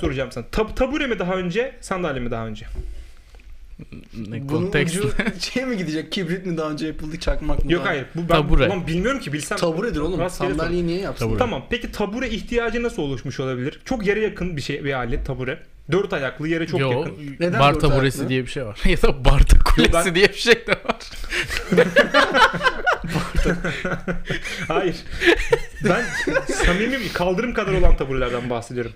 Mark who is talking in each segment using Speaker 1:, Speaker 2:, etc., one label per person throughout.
Speaker 1: soracağım sana. Tab- tabure mi daha önce, sandalye mi daha önce?
Speaker 2: Ne
Speaker 3: Bunun
Speaker 2: kontekst?
Speaker 3: ucu şey mi gidecek? Kibrit mi daha önce yapıldı çakmak mı?
Speaker 1: Yok
Speaker 3: daha-
Speaker 1: hayır. Bu ben
Speaker 2: Tabure.
Speaker 1: ulan bilmiyorum ki bilsem.
Speaker 3: Taburedir oğlum.
Speaker 1: Rastgele sordum.
Speaker 3: Sandalyeyi niye yapsın?
Speaker 2: Tabure.
Speaker 1: Tamam. Peki tabure ihtiyacı nasıl oluşmuş olabilir? Çok yere yakın bir şey bir alet tabure. Dört ayaklı yere çok
Speaker 2: Yo,
Speaker 1: yakın.
Speaker 3: Neden
Speaker 2: bar
Speaker 3: dört
Speaker 2: taburesi
Speaker 3: ayaklı?
Speaker 2: diye bir şey var. ya da barta kulesi
Speaker 1: ben-
Speaker 2: diye bir şey de var.
Speaker 1: Hayır. ben samimi kaldırım kadar olan taburelerden bahsediyorum.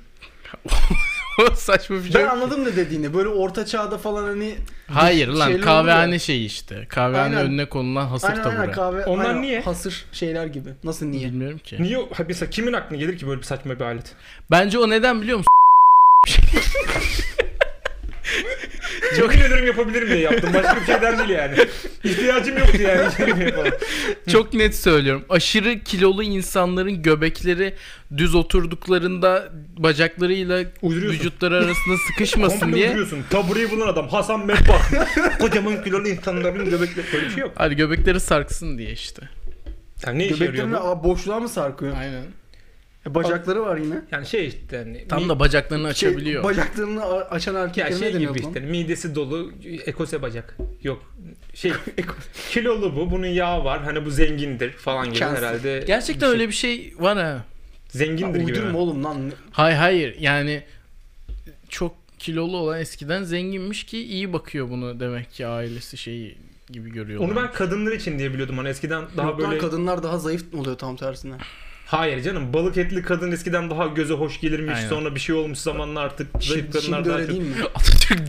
Speaker 2: O saçma bir şey.
Speaker 3: Ben anladım ne dediğini. Böyle orta çağda falan hani
Speaker 2: Hayır lan
Speaker 3: Şeyler
Speaker 2: kahvehane
Speaker 3: oluyor.
Speaker 2: şeyi işte. Kahvehane
Speaker 3: Aynen.
Speaker 2: önüne konulan hasır
Speaker 3: aynen
Speaker 2: tabure.
Speaker 3: aynen kahve.
Speaker 1: Onlar
Speaker 3: aynen
Speaker 1: niye?
Speaker 3: Hasır şeyler gibi. Nasıl niye?
Speaker 2: Bilmiyorum ki.
Speaker 1: Niye? o- Ha, mesela kimin aklına gelir ki böyle bir saçma bir alet?
Speaker 2: Bence o neden biliyor musun?
Speaker 1: Çok ederim yapabilirim diye yaptım. Başka bir şeyden değil yani. İhtiyacım yoktu yani.
Speaker 2: Çok net söylüyorum. Aşırı kilolu insanların göbekleri düz oturduklarında bacaklarıyla
Speaker 1: Uyduruyorsun.
Speaker 2: vücutları arasında sıkışmasın
Speaker 1: Komple
Speaker 2: diye.
Speaker 1: uyduruyorsun. Tabureyi bulan adam Hasan Medbah. Kocaman kilolu insanların göbekleri böyle bir şey yok.
Speaker 2: Hayır göbekleri sarksın diye işte.
Speaker 1: Yani ne işe yarıyor
Speaker 3: Göbeklerini
Speaker 1: bu?
Speaker 3: aa, boşluğa mı sarkıyor?
Speaker 2: Aynen.
Speaker 3: E, bacakları var yine.
Speaker 1: Yani şey işte yani, mi-
Speaker 2: Tam da bacaklarını
Speaker 3: Şey,
Speaker 2: açabiliyor.
Speaker 3: bacaklarını a- açan erkeklere
Speaker 1: ya
Speaker 3: ne
Speaker 1: şey
Speaker 3: deniyor
Speaker 1: gibi
Speaker 3: lan?
Speaker 1: işte midesi dolu ekose bacak. Yok şey kilolu bu bunun yağı var hani bu zengindir falan gibi
Speaker 3: Cansın.
Speaker 1: herhalde.
Speaker 2: Gerçekten öyle bir şey var ha.
Speaker 3: Ya,
Speaker 1: Zengindir gibi.
Speaker 3: uydurma oğlum lan.
Speaker 2: Hayır hayır yani çok kilolu olan eskiden zenginmiş ki iyi bakıyor bunu demek ki ailesi şeyi gibi görüyorlar.
Speaker 1: Onu ben kadınlar için diye biliyordum hani eskiden daha
Speaker 3: Daha
Speaker 1: böyle
Speaker 3: kadınlar daha zayıf oluyor tam tersine.
Speaker 1: hayır canım balık etli kadın eskiden daha göze hoş gelirmiş
Speaker 2: Aynen.
Speaker 1: sonra bir şey olmuş zamanla artık
Speaker 3: Şimdi,
Speaker 1: zayıflarına
Speaker 3: şimdi
Speaker 1: daha
Speaker 3: öyle
Speaker 1: çok
Speaker 3: değil mi?
Speaker 2: Atatürk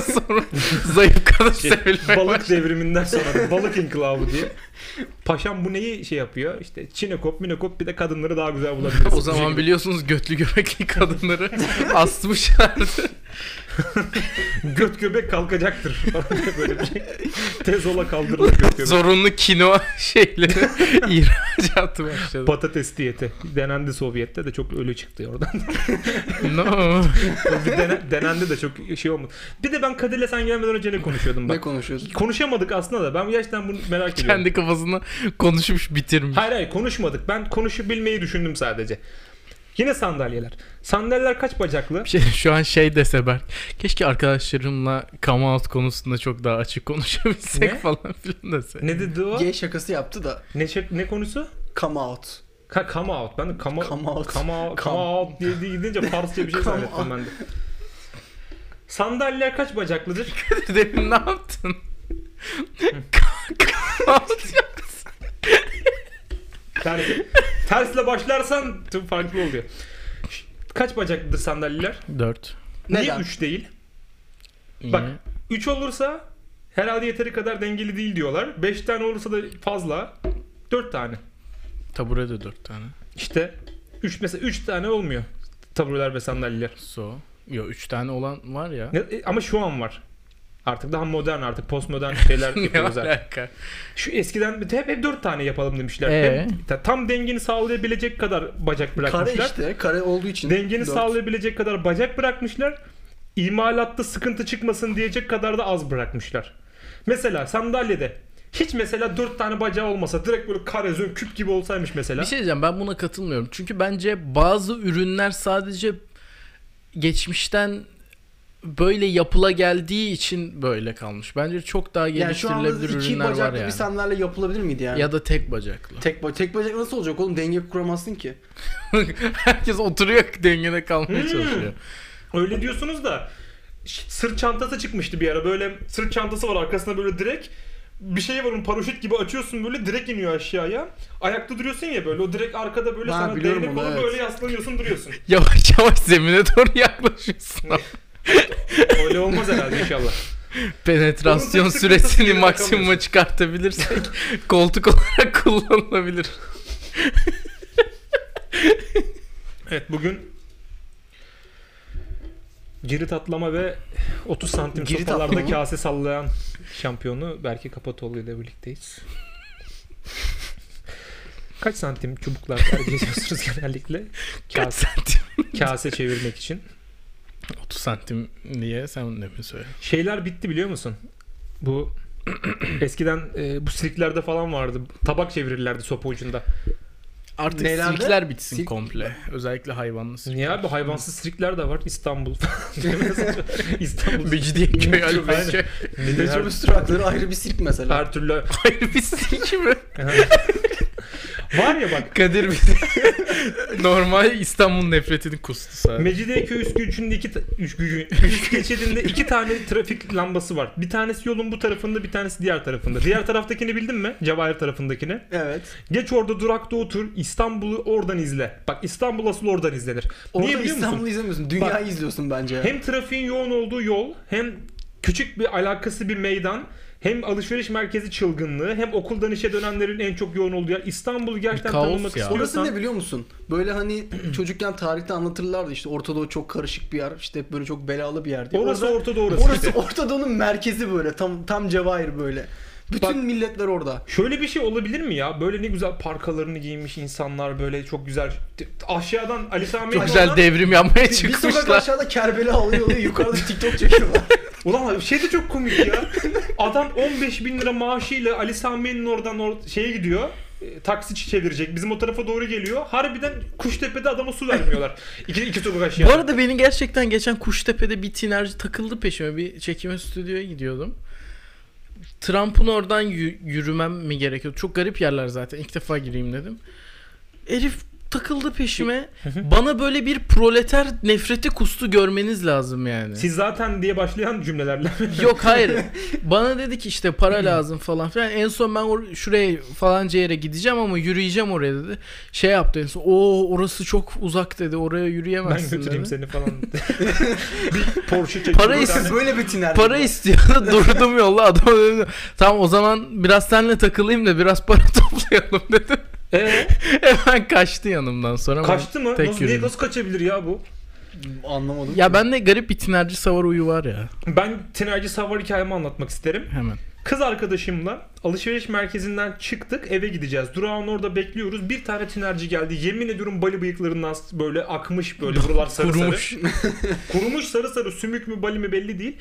Speaker 2: sonra zayıf kadın
Speaker 1: Şey,
Speaker 2: sevilmeye
Speaker 1: balık devriminden sonra da balık inkılabı diye. Paşam bu neyi şey yapıyor? İşte çinekop, minekop bir de kadınları daha güzel bulabiliyorsun.
Speaker 2: O zaman biliyorsunuz götlü göbekli kadınları asmışlardı.
Speaker 1: göt göbek kalkacaktır. Böyle bir şey. Tezola kaldırdı göt göbek.
Speaker 2: Zorunlu kino şeyleri ihracatı başladı.
Speaker 1: Patates diyeti denendi Sovyet'te de çok ölü çıktı oradan.
Speaker 2: No.
Speaker 1: bir dene- denendi de çok şey olmadı. Bir de ben Kadir'le sen gelmeden önce ne konuşuyordum
Speaker 3: Ne
Speaker 1: bak.
Speaker 3: konuşuyorsun?
Speaker 1: Konuşamadık aslında da ben gerçekten bunu merak ediyorum.
Speaker 2: Kendi kafasında konuşmuş bitirmiş.
Speaker 1: Hayır hayır konuşmadık. Ben konuşabilmeyi düşündüm sadece. Yine sandalyeler. Sandalyeler kaç bacaklı?
Speaker 2: Bir şey, şu an şey dese Berk. Keşke arkadaşlarımla come out konusunda çok daha açık konuşabilsek
Speaker 1: Ne?
Speaker 2: falan filan dese.
Speaker 1: Ne dedi o?
Speaker 3: Gay şakası yaptı da
Speaker 1: Ne, şey- ne konusu?
Speaker 3: come out.
Speaker 1: Ka come out. Ben de come,
Speaker 3: Come out.
Speaker 1: Come out.
Speaker 3: Come-
Speaker 1: Come out diye diye gidince Farsça bir şey
Speaker 3: Come
Speaker 1: zannettim
Speaker 3: out.
Speaker 1: ben de. Sandalyeler kaç bacaklıdır?
Speaker 2: Demin ne yaptın? come out yaptın.
Speaker 1: Ters, tersle başlarsan tüm farklı oluyor. Kaç bacaklıdır sandalyeler?
Speaker 2: Dört.
Speaker 1: Niye
Speaker 3: Neden?
Speaker 1: 3 değil?
Speaker 2: Niye?
Speaker 1: Bak 3 olursa herhalde yeteri kadar dengeli değil diyorlar. 5 tane olursa da fazla. 4 tane.
Speaker 2: Tabure de dört tane.
Speaker 1: İşte 3 mesela 3 tane olmuyor. Tabureler ve sandalyeler.
Speaker 2: So. Yo üç tane olan var ya.
Speaker 1: Ne- e, ama şu an var. Artık daha modern artık postmodern şeyler yapıyoruz artık.
Speaker 2: alaka?
Speaker 1: Şu eskiden bir de hep, hep dört tane yapalım demişler.
Speaker 2: Ee?
Speaker 1: Hem ta- tam dengeni sağlayabilecek kadar bacak bırakmışlar.
Speaker 3: Kare işte. Kare olduğu için.
Speaker 1: Dengeni
Speaker 3: dört.
Speaker 1: sağlayabilecek kadar bacak bırakmışlar. İmalatta sıkıntı çıkmasın diyecek kadar da az bırakmışlar. Mesela sandalyede hiç mesela dört tane bacağı olmasa direkt böyle kare zön küp gibi olsaymış mesela.
Speaker 2: Bir şey diyeceğim ben buna katılmıyorum. Çünkü bence bazı ürünler sadece geçmişten böyle yapıla geldiği için böyle kalmış. Bence çok daha
Speaker 3: Yani şu anda
Speaker 2: geliştirilebilir
Speaker 3: iki
Speaker 2: ürünler var
Speaker 3: bacaklı
Speaker 2: yani.
Speaker 3: bir sandalye yapılabilir miydi yani?
Speaker 2: Ya da tek bacaklı.
Speaker 3: Tek, ba- tek bacak nasıl olacak oğlum? Denge kuramazsın ki.
Speaker 2: Herkes oturuyor dengede kalmaya
Speaker 1: Hmm.
Speaker 2: çalışıyor.
Speaker 1: Öyle diyorsunuz da ş- sırt çantası çıkmıştı bir ara. Böyle sırt çantası var arkasında böyle direkt bir şey var onun paraşüt gibi açıyorsun böyle direkt iniyor aşağıya. Ayakta duruyorsun ya böyle o direkt arkada böyle
Speaker 3: Ha,
Speaker 1: sana
Speaker 3: biliyorum
Speaker 1: değnek
Speaker 3: onu,
Speaker 1: olur
Speaker 3: evet.
Speaker 1: böyle yaslanıyorsun duruyorsun.
Speaker 2: Yavaş yavaş zemine doğru yaklaşıyorsun.
Speaker 1: Öyle olmaz herhalde inşallah.
Speaker 2: Penetrasyon
Speaker 1: Onun tek sıkıntısı
Speaker 2: süresini
Speaker 1: yine
Speaker 2: maksimuma
Speaker 1: rakamıyorsun.
Speaker 2: çıkartabilirsek koltuk olarak kullanılabilir.
Speaker 1: Evet bugün cirit atlama ve 30 santim
Speaker 3: Cirit
Speaker 1: sopalarda
Speaker 3: atlama.
Speaker 1: kase sallayan şampiyonu Berke Kapatoğlu ile birlikteyiz. Kaç santim çubuklar tercih ediyorsunuz genellikle?
Speaker 2: Kaç
Speaker 1: Kase,
Speaker 2: santim?
Speaker 1: kase çevirmek için.
Speaker 2: 30 santim diye sen de mi söyle?
Speaker 1: Şeyler bitti biliyor musun? Bu eskiden e, bu sirklerde falan vardı. Tabak çevirirlerdi sopa ucunda.
Speaker 2: Artık
Speaker 3: Nelerde?
Speaker 2: sirkler bitsin
Speaker 3: Sirk-
Speaker 2: komple. Özellikle hayvanlı sirk.
Speaker 1: Niye abi hayvansız sirkler de var İstanbul. İstanbul.
Speaker 2: Becidiye köy
Speaker 1: Aynen.
Speaker 2: halbuki.
Speaker 3: Metrobüs durakları ayrı bir sirk mesela.
Speaker 1: Her türlü
Speaker 2: Hayır bir sirk mi?
Speaker 1: var ya bak
Speaker 2: Kadir bir normal İstanbul nefretini kustu sadece.
Speaker 1: Mecidiyeköy üst geçidinde iki ta- üst gücü- üst geçidinde iki tane trafik lambası var. Bir tanesi yolun bu tarafında, bir tanesi diğer tarafında. Diğer taraftakini bildin mi? Cevahir tarafındakini.
Speaker 3: Evet.
Speaker 1: Geç orada durakta otur, İstanbul'u oradan izle. Bak İstanbul asıl oradan izlenir. Niye
Speaker 3: Orada
Speaker 1: biliyor
Speaker 3: İstanbul'u
Speaker 1: musun?
Speaker 3: izlemiyorsun. Dünyayı izliyorsun bence. ya.
Speaker 1: Hem trafiğin yoğun olduğu yol, hem küçük bir alakası bir meydan, hem alışveriş merkezi çılgınlığı, hem okuldan işe dönenlerin en çok yoğun olduğu yer. İstanbul'u gerçekten
Speaker 2: kaos
Speaker 1: tanımak
Speaker 2: ya.
Speaker 1: istiyorsan...
Speaker 3: Orası ne biliyor musun? Böyle hani çocukken tarihte anlatırlardı işte Orta Doğu çok karışık bir yer. işte hep böyle çok belalı bir yer diye.
Speaker 1: Orası
Speaker 3: Orada-
Speaker 1: ortada orası.
Speaker 3: Orası
Speaker 1: işte.
Speaker 3: Orta Doğu'nun merkezi böyle. Tam tam Cevahir böyle. Bütün
Speaker 1: Bak-
Speaker 3: milletler orada.
Speaker 1: Şöyle bir şey olabilir mi ya? Böyle ne güzel parkalarını giymiş insanlar böyle çok güzel. Aşağıdan Ali Sami
Speaker 2: Çok güzel devrim yapmaya
Speaker 3: Bir sokak
Speaker 2: çıkmışlar.
Speaker 3: aşağıda Kerbela alıyor oluyor. Yukarıda TikTok çekiyorlar.
Speaker 1: Ulan şey de çok komik ya. Adam 15 bin lira maaşıyla Ali Sami'nin oradan or- şeye gidiyor. E, taksi çevirecek. Bizim o tarafa doğru geliyor. Harbiden Kuştepe'de adama su vermiyorlar. İki, iki sokak aşağıda.
Speaker 2: Bu arada beni gerçekten geçen Kuştepe'de bir tinerci takıldı peşime. Bir çekime stüdyoya gidiyordum. Trump'ın oradan yü- yürümem mi gerekiyordu? Çok garip yerler zaten. İlk defa gireyim dedim. Elif takıldı peşime. Bana böyle bir proleter nefreti kustu görmeniz lazım yani.
Speaker 1: Siz zaten diye başlayan cümlelerle.
Speaker 2: Yok hayır. Bana dedi ki işte para lazım falan filan. En son ben or- şuraya falanca yere gideceğim ama yürüyeceğim oraya dedi. Şey yaptı en son. O orası çok uzak dedi. Oraya
Speaker 1: ben
Speaker 2: yürüyemezsin
Speaker 1: götüreyim
Speaker 2: dedi.
Speaker 1: seni falan. bir Porsche çekti.
Speaker 2: Para
Speaker 1: Bir
Speaker 2: istedim.
Speaker 1: tane-
Speaker 3: böyle bir tiner.
Speaker 2: Para istiyordu durdum yolla adam dedi, Tamam o zaman biraz seninle takılayım da biraz para toplayalım dedi.
Speaker 1: Ee,
Speaker 2: Hemen kaçtı yanımdan sonra. ama
Speaker 1: kaçtı mı?
Speaker 2: Tek
Speaker 1: Nasıl,
Speaker 2: yürüdüm.
Speaker 1: nasıl kaçabilir ya bu?
Speaker 3: Anlamadım.
Speaker 2: Ya bende garip bir tinerci savar uyu var ya
Speaker 1: Ben tinerci savar hikayemi anlatmak isterim.
Speaker 2: hemen.
Speaker 1: Kız arkadaşımla alışveriş merkezinden çıktık eve gideceğiz. Durağın orada bekliyoruz. Bir tane tinerci geldi. Yemin ediyorum bali bıyıklarından böyle akmış böyle buralar sarı sarı.
Speaker 2: Kurumuş.
Speaker 1: Kurumuş sarı sarı sümük mü bali mi belli değil.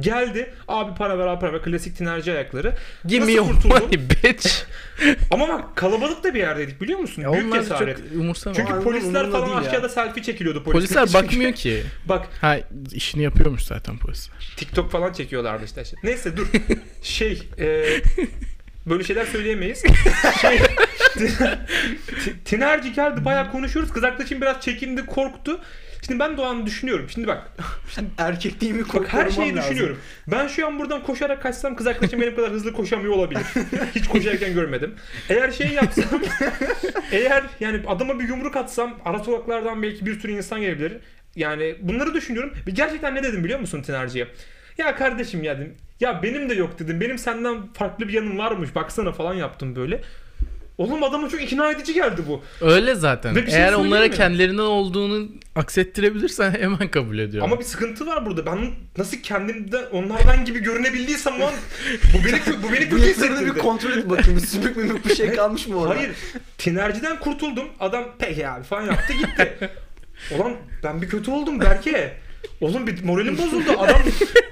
Speaker 1: Geldi abi para ver abi para ver klasik tinerci ayakları.
Speaker 2: Give me
Speaker 1: Nasıl
Speaker 2: your
Speaker 1: kurtuldun?
Speaker 2: money bitch.
Speaker 1: Ama bak kalabalık da bir yerdeydik biliyor musun?
Speaker 2: Ya
Speaker 1: Büyük
Speaker 2: onlar da
Speaker 1: cesaret.
Speaker 2: çok umursamıyor.
Speaker 1: Çünkü
Speaker 3: Ama
Speaker 1: polisler
Speaker 3: onunla
Speaker 1: falan
Speaker 3: değil ya.
Speaker 1: aşağıda selfie çekiliyordu polisler.
Speaker 2: Polisler bakmıyor ki.
Speaker 1: Bak
Speaker 2: Ha işini yapıyormuş zaten polis.
Speaker 1: TikTok falan çekiyorlardı işte. Neyse dur. Şey, e, böyle şeyler söyleyemeyiz. Şey, Ti- Tinerci geldi bayağı konuşuyoruz. Kız arkadaşım biraz çekindi, korktu. Şimdi ben Doğan'ı düşünüyorum. Şimdi bak,
Speaker 3: Erkekliğimi
Speaker 1: bak
Speaker 3: korumam
Speaker 1: her şeyi
Speaker 3: lazım.
Speaker 1: düşünüyorum. Ben şu an buradan koşarak kaçsam kız arkadaşım benim kadar hızlı koşamıyor olabilir. Hiç koşarken görmedim. Eğer şey yapsam, eğer yani adama bir yumruk atsam ara sokaklardan belki bir sürü insan gelebilir. Yani bunları düşünüyorum. Ve gerçekten ne dedim biliyor musun Tinerci'ye? Ya kardeşim ya dedim. Ya benim de yok dedim. Benim senden farklı bir yanım varmış. Baksana falan yaptım böyle. Oğlum adama çok ikna edici geldi bu.
Speaker 2: Öyle zaten.
Speaker 1: Ve bir şey
Speaker 2: Eğer onlara
Speaker 1: söyleyeyim mi?
Speaker 2: kendilerinden olduğunu aksettirebilirsen hemen kabul ediyor.
Speaker 1: Ama bir sıkıntı var burada. Ben nasıl kendimden onlardan gibi görünebildiysem lan bu beni bu beni kötü
Speaker 3: Bıyıklarını
Speaker 1: hissettirdi.
Speaker 3: bir kontrol et bakayım. Sümük mümük bir şey kalmış mı orada?
Speaker 1: Hayır. Tinerciden kurtuldum. Adam peki abi falan yaptı gitti. Ulan ben bir kötü oldum Berke. Oğlum bir moralim bozuldu. Adam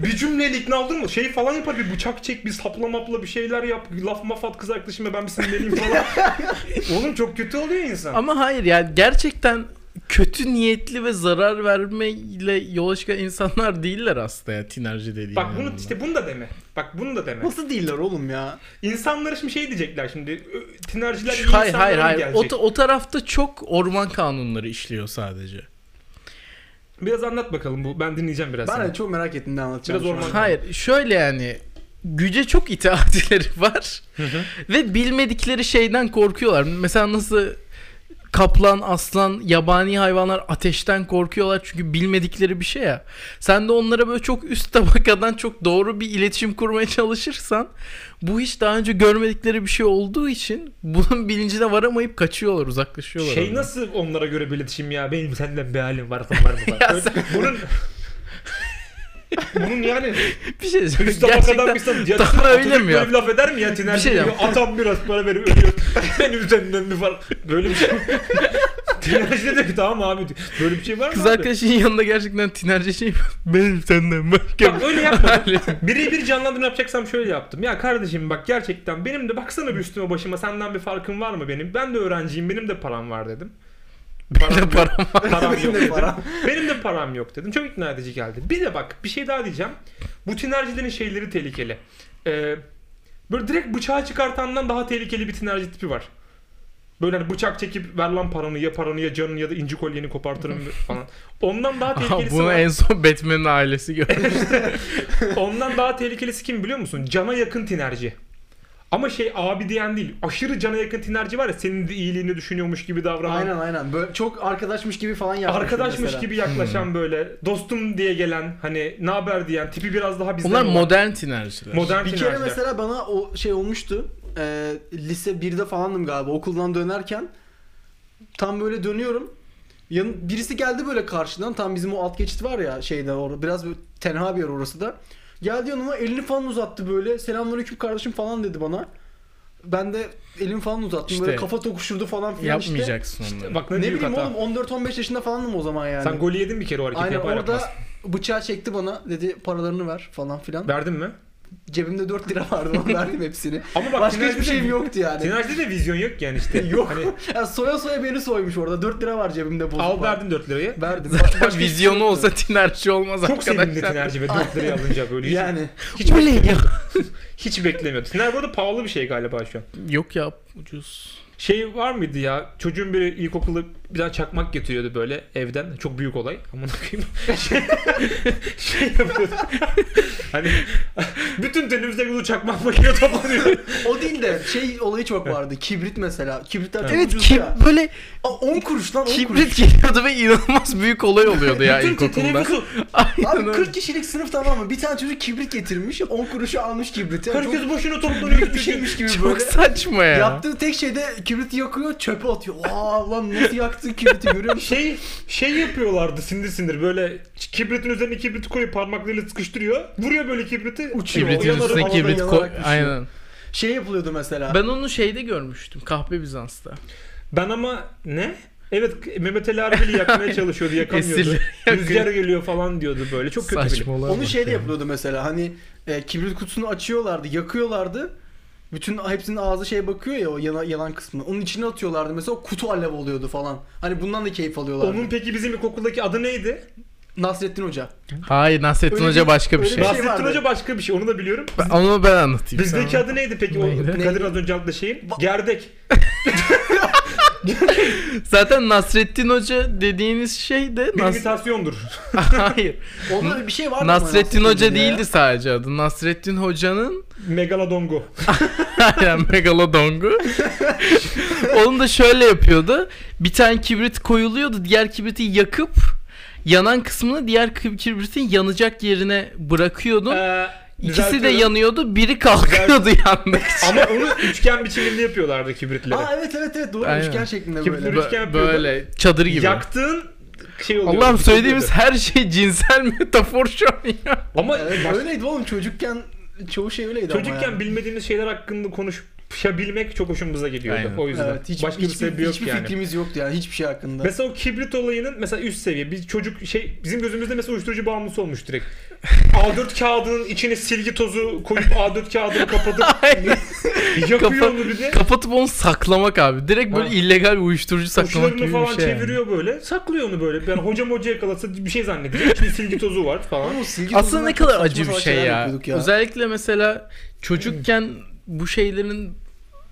Speaker 1: bir cümleyle ikna oldu mu? Şey falan yapar bir bıçak çek, bir sapla mapla bir şeyler yap. Laf mafat kız arkadaşıma ben bir sinirleneyim falan. Oğlum çok kötü oluyor insan.
Speaker 2: Ama hayır yani gerçekten kötü niyetli ve zarar vermeyle yola çıkan insanlar değiller aslında ya tinerci dediğin.
Speaker 1: Bak
Speaker 2: yani
Speaker 1: bunu
Speaker 2: bunlar.
Speaker 1: işte bunu da deme. Bak bunu da deme.
Speaker 3: Nasıl değiller oğlum ya?
Speaker 1: İnsanlara şimdi şey diyecekler şimdi. ö, Tinerciler iyi
Speaker 2: hayır
Speaker 1: insanlara
Speaker 2: hayır
Speaker 1: mı
Speaker 2: hayır. O,
Speaker 1: gelecek?
Speaker 2: ta- o tarafta çok orman kanunları işliyor sadece.
Speaker 1: Biraz anlat bakalım bu. Ben dinleyeceğim biraz.
Speaker 3: Ben
Speaker 1: seni.
Speaker 3: de çok merak ettim ne anlatacağım.
Speaker 1: Biraz
Speaker 3: şu an.
Speaker 1: orman-
Speaker 2: Hayır şöyle yani güce çok itaatleri var
Speaker 1: hı.
Speaker 2: ve bilmedikleri şeyden korkuyorlar. Mesela nasıl kaplan, aslan, yabani hayvanlar ateşten korkuyorlar çünkü bilmedikleri bir şey ya. Sen de onlara böyle çok üst tabakadan çok doğru bir iletişim kurmaya çalışırsan bu hiç daha önce görmedikleri bir şey olduğu için bunun bilincine varamayıp kaçıyorlar, uzaklaşıyorlar.
Speaker 1: Şey
Speaker 2: ondan.
Speaker 1: nasıl onlara göre bir iletişim ya? Benim senden bir halim var, sen var mı? var?
Speaker 2: Ya
Speaker 1: Öyle- bunun bunun yani
Speaker 2: bir şey diyeceğim.
Speaker 1: üst tabakadan bir
Speaker 2: Gerçekten
Speaker 1: insan ya,
Speaker 2: tam
Speaker 1: Atatürk
Speaker 2: öyle mi ya?
Speaker 1: Böyle bir laf eder mi ya Tiner?
Speaker 2: Bir şey
Speaker 1: diyor,
Speaker 2: yap.
Speaker 1: Atam biraz para verip ölüyor. Benim senden bir var. Böyle bir şey. Tinerci de diyor ki tamam abi diyor. Böyle bir şey var mı
Speaker 2: Kız
Speaker 1: abi?
Speaker 2: arkadaşın yanında gerçekten tinerci şey benim senden
Speaker 1: Bak
Speaker 2: başka
Speaker 1: öyle yapmadım.
Speaker 2: Öyle.
Speaker 1: Birebir canlandırma yapacaksam şöyle yaptım. Ya kardeşim bak gerçekten benim de baksana bir üstüme başıma senden bir farkın var mı benim? Ben de öğrenciyim benim de param var dedim.
Speaker 2: Benim de param var.
Speaker 1: Param
Speaker 3: Benim
Speaker 1: yok
Speaker 3: de
Speaker 1: dedim.
Speaker 3: param.
Speaker 1: Benim de param yok dedim. Çok ikna edici geldi. Bir de bak bir şey daha diyeceğim. Bu tinercilerin şeyleri tehlikeli. Ee, böyle direkt bıçağı çıkartandan daha tehlikeli bir tinerci tipi var. Böyle hani bıçak çekip ver lan paranı ya paranı ya canını ya da inci kolyeni kopartırım falan. Ondan daha
Speaker 2: Aha,
Speaker 1: tehlikelisi
Speaker 2: Bunu
Speaker 1: var.
Speaker 2: en son Batman'in ailesi gördü.
Speaker 1: Ondan daha tehlikelisi kim biliyor musun? Cana yakın tinerci. Ama şey abi diyen değil. Aşırı cana yakın tinerci var ya senin de iyiliğini düşünüyormuş gibi davranan.
Speaker 3: Aynen aynen. Böyle çok arkadaşmış gibi falan yaklaşıyor
Speaker 1: Arkadaşmış
Speaker 3: mesela.
Speaker 1: gibi yaklaşan
Speaker 3: Hmm.
Speaker 1: böyle dostum diye gelen hani ne haber diyen tipi biraz daha bizden
Speaker 2: Bunlar
Speaker 1: olan.
Speaker 2: modern tinerciler.
Speaker 1: modern
Speaker 3: Bir kere
Speaker 1: tinerciler.
Speaker 3: mesela bana o şey olmuştu. Ee, lise 1'de falandım galiba okuldan dönerken. Tam böyle dönüyorum. Yan, birisi geldi böyle karşıdan. Tam bizim o alt geçit var ya şeyde orada. Biraz böyle tenha bir yer orası da. Geldi yanıma elini falan uzattı böyle. Selamünaleyküm kardeşim falan dedi bana. Ben de elimi falan uzattım.
Speaker 2: İşte.
Speaker 3: böyle kafa tokuşurdu falan filan işte.
Speaker 2: Yapmayacaksın onları.
Speaker 1: Bak
Speaker 3: Ne
Speaker 1: ne,
Speaker 3: bileyim
Speaker 1: hata.
Speaker 3: oğlum 14-15 yaşında falandım o zaman yani.
Speaker 1: Sen golü yedin bir kere o hareketi
Speaker 3: Aynen
Speaker 1: yapar
Speaker 3: orada
Speaker 1: yapmaz.
Speaker 3: bıçağı çekti bana dedi paralarını ver falan filan.
Speaker 1: Verdin mi?
Speaker 3: Cebimde 4 lira vardı onu verdim hepsini.
Speaker 1: Ama bak
Speaker 3: Başka
Speaker 1: tinerci
Speaker 3: hiçbir
Speaker 1: de-
Speaker 3: şeyim yoktu yani.
Speaker 1: Tinercide de vizyon yok yani işte.
Speaker 3: Yok.
Speaker 1: Hani,
Speaker 3: Ya soya soya beni soymuş orada. 4 lira var cebimde bozuk.
Speaker 1: al
Speaker 3: var.
Speaker 1: verdin 4 lirayı.
Speaker 3: Verdim.
Speaker 2: Zaten
Speaker 3: Başka hiçbir
Speaker 2: vizyonu
Speaker 3: şey yoktu.
Speaker 2: olsa tinerci olmaz
Speaker 1: Çok sevindi
Speaker 2: arkadaşlar.
Speaker 1: tinerci ve 4 lirayı alınca böyle. Hiç,
Speaker 3: Yani
Speaker 1: hiç, bekle- hiç beklemiyordum. Tiner bu arada pahalı bir şey galiba şu an.
Speaker 2: Yok ya ucuz.
Speaker 1: Şey var mıydı ya? Çocuğun biri ilkokulda bir tane çakmak getiriyordu böyle evden. Çok büyük olay. Aman koyayım. Şey, şey yapıyordu. hani bütün tenimizdeki bu çakmak makineye toplanıyor.
Speaker 3: o değil de şey olayı çok vardı. Kibrit mesela. Kibritler çok
Speaker 2: Evet
Speaker 3: ucuz
Speaker 2: kim
Speaker 3: ya.
Speaker 2: böyle
Speaker 3: Aa, 10 kuruş lan 10 kuruş.
Speaker 2: kibrit geliyordu ve inanılmaz büyük olay oluyordu ya
Speaker 1: bütün
Speaker 2: ilkokulda.
Speaker 1: televizyonu.
Speaker 2: Aynen
Speaker 3: Abi
Speaker 2: öyle.
Speaker 3: 40 kişilik sınıf tamam mı? Bir tane çocuk kibrit getirmiş. 10 kuruşu almış kibriti. Yani
Speaker 1: Herkes
Speaker 3: çok
Speaker 1: boşuna toplanıyor.
Speaker 3: bir şeymiş gibi
Speaker 2: Çok
Speaker 3: böyle.
Speaker 2: saçma ya.
Speaker 3: Yaptığı tek şey de kibriti yakıyor çöpe atıyor. Aa lan nasıl yaktı kibriti görüyor musun?
Speaker 1: şey şey yapıyorlardı sindir sindir böyle kibritin üzerine kibriti koyup parmaklarıyla sıkıştırıyor. Vuruyor böyle kibriti.
Speaker 3: Uçuyor.
Speaker 2: Kibritin
Speaker 1: Uyanarım
Speaker 2: üstüne
Speaker 1: havada
Speaker 2: kibrit
Speaker 1: yanar.
Speaker 2: koy.
Speaker 3: yanarak düşüyor.
Speaker 2: Aynen.
Speaker 3: Şey yapılıyordu mesela.
Speaker 2: Ben onu şeyde görmüştüm. Kahpe Bizans'ta.
Speaker 1: Ben ama ne? Evet Mehmet Ali Erbil'i yakmaya çalışıyordu yakamıyordu.
Speaker 2: Esirleri
Speaker 1: Rüzgar
Speaker 2: yakıyor.
Speaker 1: geliyor falan diyordu böyle. Çok kötü bir
Speaker 2: Saçmalığa
Speaker 3: Onu
Speaker 2: bak
Speaker 3: şeyde
Speaker 2: ya.
Speaker 3: yapılıyordu mesela hani e, kibrit kutusunu açıyorlardı, yakıyorlardı. Bütün hepsinin ağzı şey bakıyor ya o yana, yalan kısmına. Onun içine atıyorlardı mesela o kutu alev oluyordu falan. Hani bundan da keyif alıyorlardı.
Speaker 1: Onun peki bizim ilkokuldaki adı neydi?
Speaker 3: Nasrettin Hoca.
Speaker 2: Hayır Nasrettin
Speaker 3: Öyle
Speaker 2: Hoca
Speaker 3: bir-
Speaker 2: başka bir
Speaker 3: öyle
Speaker 2: şey.
Speaker 3: bir-
Speaker 1: Nasrettin
Speaker 3: vardı.
Speaker 1: Hoca başka bir şey onu da biliyorum.
Speaker 2: Ben- Onu ben anlatayım
Speaker 1: Bizdeki
Speaker 2: sana.
Speaker 1: adı neydi peki? O,
Speaker 2: Neydi?
Speaker 1: Kadir az önce aldı şeyin.
Speaker 3: Ba-
Speaker 1: Gerdek.
Speaker 2: Zaten Nasrettin Hoca dediğimiz şey de...
Speaker 1: Bir
Speaker 2: Nas-
Speaker 1: imitasyondur.
Speaker 2: Hayır.
Speaker 3: Onda bir şey vardı ama
Speaker 2: Nasrettin Hoca
Speaker 3: Hoca'ya.
Speaker 2: değildi sadece adı. Nasrettin Hoca'nın
Speaker 1: Megalodongo.
Speaker 2: Aynen Megalodongu. Onu da şöyle yapıyordu. Bir tane kibrit koyuluyordu. Diğer kibriti yakıp yanan kısmını diğer kib- kibritin yanacak yerine bırakıyordun.
Speaker 1: Ee,
Speaker 2: İkisi de
Speaker 1: düzeltiyorum.
Speaker 2: yanıyordu. Biri kalkıyordu yandık.
Speaker 1: Ama onu üçgen biçiminde yapıyorlardı kibritleri.
Speaker 3: Aa evet evet evet doğru
Speaker 2: Aynen.
Speaker 3: üçgen şeklinde
Speaker 1: Kibrit
Speaker 3: böyle.
Speaker 1: ürün- üçgen yapıyordu.
Speaker 2: Böyle çadır gibi.
Speaker 1: Yaktığın şey oluyor.
Speaker 2: Allah'ım söylediğimiz her şey cinsel metafor şu an ya.
Speaker 1: Ama
Speaker 3: Evet,
Speaker 1: baş-
Speaker 3: öyleydi oğlum çocukken çoğu şey öyleydi ama
Speaker 1: çocukken
Speaker 3: yani.
Speaker 1: bilmediğimiz şeyler hakkında konuşabilmek çok hoşumuza gidiyordu.
Speaker 2: Aynen.
Speaker 1: O yüzden.
Speaker 3: Evet, hiç,
Speaker 1: şey Başka bir
Speaker 3: hiçbir,
Speaker 1: sebebi yok
Speaker 3: hiçbir
Speaker 1: yani.
Speaker 3: fikrimiz yoktu yani hiçbir şey hakkında.
Speaker 1: Mesela o kibrit olayının mesela üst seviye bir çocuk şey bizim gözümüzde mesela uyuşturucu bağımlısı olmuş direkt. A4 kağıdının içine silgi tozu koyup A4 kağıdını kapatıp yakıyor
Speaker 2: Kafa-
Speaker 1: onu bir de.
Speaker 2: Kapatıp onu saklamak abi. Direkt böyle
Speaker 1: Ha.
Speaker 2: illegal bir uyuşturucu saklamak
Speaker 1: Uçlarını
Speaker 2: gibi
Speaker 1: falan
Speaker 2: bir şey. yani.
Speaker 1: çeviriyor böyle. Saklıyor onu böyle. Yani hocam hoca yakalasa bir şey zannedecek. İçinde silgi tozu var falan.
Speaker 3: Oğlum, silgi
Speaker 2: Aslında
Speaker 3: tozundan
Speaker 2: ne
Speaker 3: çok
Speaker 2: kadar
Speaker 3: saçma
Speaker 2: acı bir
Speaker 3: salak
Speaker 2: şey
Speaker 3: şeyler
Speaker 2: ya.
Speaker 3: yapıyorduk
Speaker 2: Özellikle mesela çocukken bu şeylerin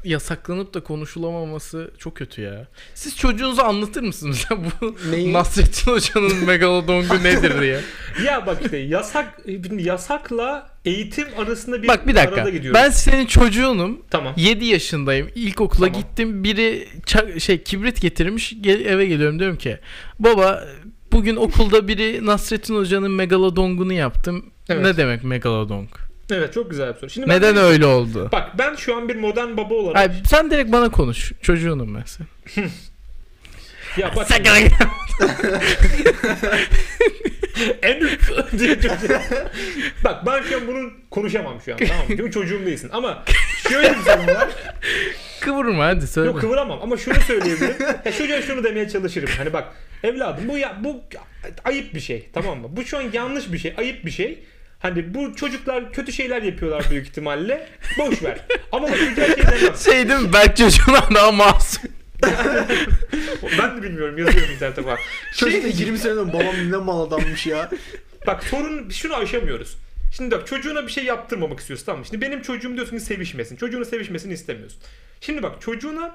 Speaker 2: yasaklanıp da konuşulamaması çok kötü ya. Siz çocuğunuza anlatır mısınız mesela bu
Speaker 3: Neyi?
Speaker 2: Nasrettin Hoca'nın megalodongu nedir diye?
Speaker 1: ya bak işte yasak yasakla eğitim arasında bir
Speaker 2: Bak bir dakika.
Speaker 1: arada gidiyoruz.
Speaker 2: Ben senin çocuğunum.
Speaker 1: Tamam.
Speaker 2: 7 yaşındayım. İlkokula
Speaker 1: Tamam.
Speaker 2: gittim. Biri ça- şey kibrit getirmiş. Gel- eve geliyorum diyorum ki baba bugün okulda biri Nasrettin Hoca'nın megalodongunu yaptım.
Speaker 1: Evet.
Speaker 2: Ne demek megalodong?
Speaker 1: Evet çok güzel bir soru. Şimdi ben-
Speaker 2: Neden öyle oldu?
Speaker 1: Bak ben şu an bir modern baba olarak
Speaker 2: Ay, sen direkt bana konuş. Çocuğunum ben senin.
Speaker 1: ya bak
Speaker 2: Sakın.
Speaker 1: en diye- bak ben şu an bunu konuşamam şu an tamam mı? Çünkü çocuğum değilsin ama Şöyle bir durum var.
Speaker 2: Kıvırma hadi söyle.
Speaker 1: Yok kıvıramam ama şunu söyleyebilirim. ya çocuğa şunu demeye çalışırım. Hani bak evladım bu ya bu ayıp bir şey tamam mı? Bu şu an yanlış bir şey, ayıp bir şey. Hani bu çocuklar kötü şeyler yapıyorlar büyük ihtimalle. Boş ver. Ama bak güzel şey demem.
Speaker 2: Şey değil mi? Berk çocuğuna daha masum.
Speaker 1: Ben de bilmiyorum yazıyorum internete bak.
Speaker 3: Çocuk da 20 sene önce babam ne mal adammış ya.
Speaker 1: Bak sorun şunu aşamıyoruz. Şimdi bak çocuğuna bir şey yaptırmamak istiyorsun tamam mı? Şimdi benim çocuğum diyorsun ki sevişmesin. Çocuğuna sevişmesini istemiyorsun. Şimdi bak çocuğuna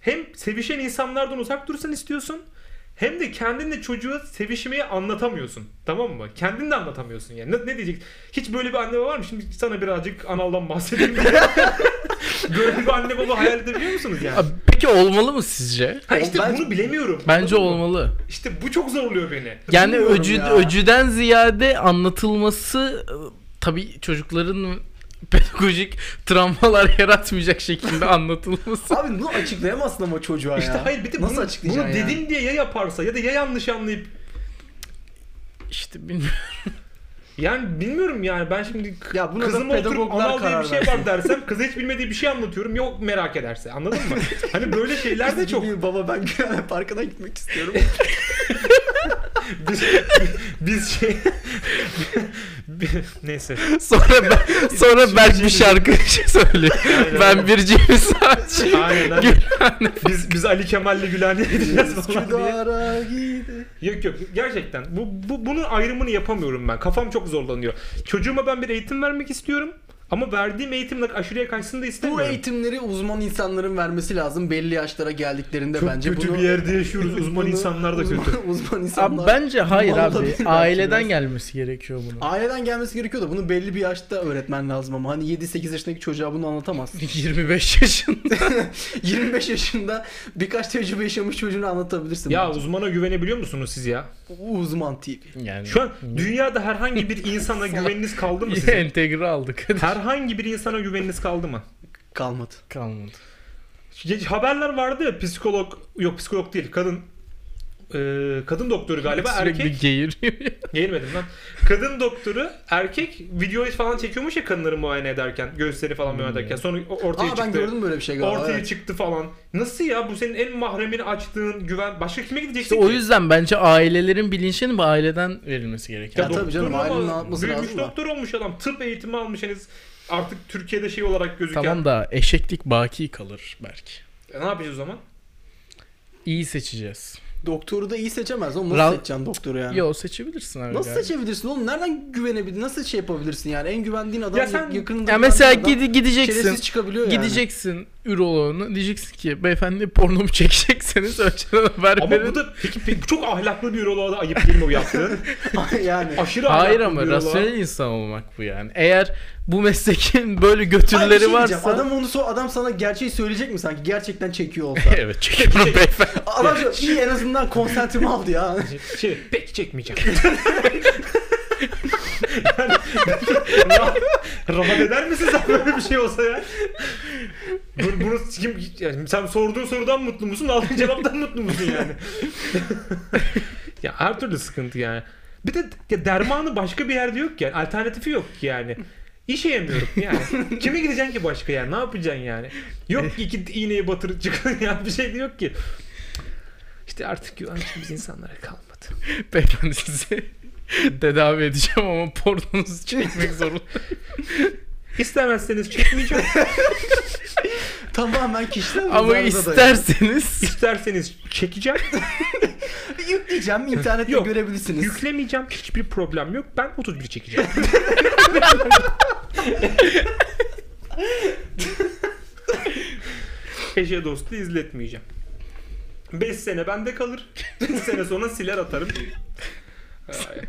Speaker 1: hem sevişen insanlardan uzak dursun istiyorsun. Hem de kendinle çocuğa sevişmeyi anlatamıyorsun. Tamam mı? Kendin de anlatamıyorsun yani. Ne, ne diyecek? Hiç böyle bir anne baba var mı? Şimdi sana birazcık analdan bahsedeyim. böyle bir anne baba hayal edebiliyor musunuz yani?
Speaker 2: Abi, Peki olmalı mı sizce?
Speaker 1: ha işte
Speaker 3: ben-
Speaker 1: bunu bilemiyorum.
Speaker 2: Bence
Speaker 1: Anladın mı?
Speaker 2: olmalı.
Speaker 1: İşte bu çok zorluyor beni.
Speaker 2: Yani
Speaker 3: Bilmiyorum
Speaker 2: öcü,
Speaker 3: ya.
Speaker 2: öcüden ziyade anlatılması e, tabii çocukların pedagojik travmalar yaratmayacak şekilde anlatılması.
Speaker 3: Abi bunu açıklayamazsın ama çocuğa
Speaker 1: İşte
Speaker 3: ya.
Speaker 1: hayır bir de
Speaker 3: Nasıl
Speaker 1: bunu, bunu
Speaker 3: açıklayacaksın
Speaker 1: dedin diye ya yaparsa ya da ya yanlış anlayıp
Speaker 2: işte bilmiyorum.
Speaker 1: Yani bilmiyorum yani ben şimdi k-
Speaker 3: Ya buna da
Speaker 1: kızıma oturup
Speaker 3: pedagoglar
Speaker 1: anal diye bir
Speaker 3: karar
Speaker 1: şey var
Speaker 3: versin.
Speaker 1: dersem kıza hiç bilmediği bir şey anlatıyorum yok merak ederse anladın mı? hani böyle şeyler de çok
Speaker 3: Gibi, baba ben parkına gitmek istiyorum.
Speaker 1: biz, biz şey neyse
Speaker 2: Sonra ben, sonra Berk bir şarkı söylüyor.
Speaker 1: Aynen.
Speaker 2: ben bir cimiz sadece.
Speaker 1: aynen aynen. biz, biz Ali Kemal'le Gülhane'ye gideceğiz falan diye.
Speaker 3: Üsküdar'a gide.
Speaker 1: Yok yok gerçekten bu, bu bunun ayrımını yapamıyorum ben. Kafam çok zorlanıyor. Çocuğuma ben bir eğitim vermek istiyorum ama verdiğim eğitimle aşırıya kaçsın da
Speaker 3: Bu
Speaker 1: istemiyorum.
Speaker 3: eğitimleri uzman insanların vermesi lazım belli yaşlara geldiklerinde
Speaker 1: çok
Speaker 3: bence.
Speaker 1: kötü
Speaker 3: bunu-
Speaker 1: bir yerde yaşıyoruz. Uzman
Speaker 3: bunu-
Speaker 1: insanlar da
Speaker 3: uzman-
Speaker 1: kötü.
Speaker 3: Uzman
Speaker 2: Abi
Speaker 3: insanlar.
Speaker 2: bence hayır
Speaker 3: Olabilir
Speaker 2: abi.
Speaker 3: belki
Speaker 2: Aileden
Speaker 3: biraz.
Speaker 2: gelmesi gerekiyor bunun.
Speaker 3: Aileden gelmesi gerekiyor da bunu belli bir yaşta öğretmen lazım ama hani 7-8 yaşındaki çocuğa bunu anlatamazsın.
Speaker 2: 25 yaşında.
Speaker 3: 25 yaşında birkaç tecrübe yaşamış çocuğunu anlatabilirsin.
Speaker 1: Ya
Speaker 3: bence.
Speaker 1: uzmana güvenebiliyor musunuz siz ya?
Speaker 3: uzman TV.
Speaker 2: Yani
Speaker 1: Şu an dünyada herhangi bir insana güveniniz kaldı mı sizin?
Speaker 2: entegre aldık.
Speaker 1: Herhangi bir insana güveniniz kaldı mı?
Speaker 3: Kalmadı.
Speaker 2: Kalmadı.
Speaker 1: Ge- Haberler vardı ya psikolog yok psikolog değil kadın e, kadın doktoru galiba
Speaker 2: Sürekli
Speaker 1: erkek
Speaker 2: geğiriyor ya.
Speaker 1: Gelmedim lan. Kadın doktoru erkek videoyu falan çekiyormuş ya kadınları muayene ederken göğüsleri falan muayene ederken sonra o- ortaya
Speaker 3: Aa
Speaker 1: çıktı.
Speaker 3: ben gördüm böyle bir şey galiba.
Speaker 1: Ortaya
Speaker 3: evet.
Speaker 1: çıktı falan. Nasıl ya bu senin en mahremini açtığın güven başka kime gideceksin
Speaker 2: İşte o
Speaker 1: ki?
Speaker 2: yüzden bence ailelerin bilinçli bu aileden verilmesi
Speaker 3: Ya
Speaker 2: gereken.
Speaker 3: tabii
Speaker 1: doktor
Speaker 3: canım,
Speaker 1: ama
Speaker 3: ailenin anlatması
Speaker 1: büyümüş
Speaker 3: lazım da.
Speaker 1: doktor olmuş adam. Tıp eğitimi almış henüz artık Türkiye'de şey olarak gözüken.
Speaker 2: Tamam da eşeklik baki kalır belki.
Speaker 1: E, ne yapacağız o zaman?
Speaker 2: İyi seçeceğiz.
Speaker 3: Doktoru da iyi seçemez. Oğlum
Speaker 2: Ra-
Speaker 3: nasıl seçeceksin doktoru yani?
Speaker 2: Yo seçebilirsin abi.
Speaker 3: Nasıl
Speaker 2: yani.
Speaker 3: seçebilirsin oğlum? Nereden güvenebilirsin? Nasıl şey yapabilirsin yani? En güvendiğin adam
Speaker 1: Ya sen-
Speaker 3: yakınında
Speaker 2: Ya mesela
Speaker 3: güvendiğin adam
Speaker 2: gidi gideceksin.
Speaker 3: şerefsiz çıkabiliyor yani.
Speaker 2: Gideceksin üroloğuna diyeceksin ki beyefendi pornomu çekecekseniz önceden haber
Speaker 1: Ama
Speaker 2: verin.
Speaker 1: bu da peki, peki çok ahlaklı bir üroloğa da ayıp değil mi bu yaptığı?
Speaker 3: yani.
Speaker 1: Aşırı
Speaker 2: Hayır
Speaker 1: ahlaklı
Speaker 2: ama
Speaker 1: bir üroloğa.
Speaker 2: rasyonel insan olmak bu yani. Eğer bu meslekin böyle
Speaker 3: Hayır, bir
Speaker 2: götürleri
Speaker 3: şey diyeceğim.
Speaker 2: varsa...
Speaker 3: Adam onu so adam sana gerçeği söyleyecek mi sanki? Gerçekten çekiyor olsa.
Speaker 2: evet çekiyorum
Speaker 3: Şey-
Speaker 2: beyefendi.
Speaker 3: adam diyor, iyi en azından konsentimi aldı ya.
Speaker 1: Şey, pek çekmeyeceğim. yani, ya, rahat eder misin sen böyle bir şey olsa ya? Bu- Bunu kim, yani sen sorduğun sorudan mutlu musun? Aldığın cevaptan mutlu musun yani? ya her türlü sıkıntı yani. Bir de ya dermanı başka bir yerde yok ki yani. Alternatifi yok ki yani. İşe yemiyorum yani. Kime gideceksin ki başka yani? Ne yapacaksın yani? Yok ki iki iğneyi batırıp çıkın yani bir şey de yok ki. İşte artık güvençimiz insanlara kalmadı.
Speaker 2: beyefendi sizi tedavi edeceğim ama pornonuzu çekmek zorunda.
Speaker 1: İstemezseniz çekmeyeceğim.
Speaker 3: Tamamen kişisel
Speaker 2: ama
Speaker 3: rızanıza
Speaker 2: isterseniz
Speaker 1: İsterseniz çekeceğim.
Speaker 3: dayanıyor. Yükleyeceğim internette
Speaker 1: Yok.
Speaker 3: görebilirsiniz.
Speaker 1: Yüklemeyeceğim. Hiçbir problem yok. Ben 31 çekeceğim. Eşe dostu izletmeyeceğim. 5 sene bende kalır. 5 sene sonra siler atarım. Ay.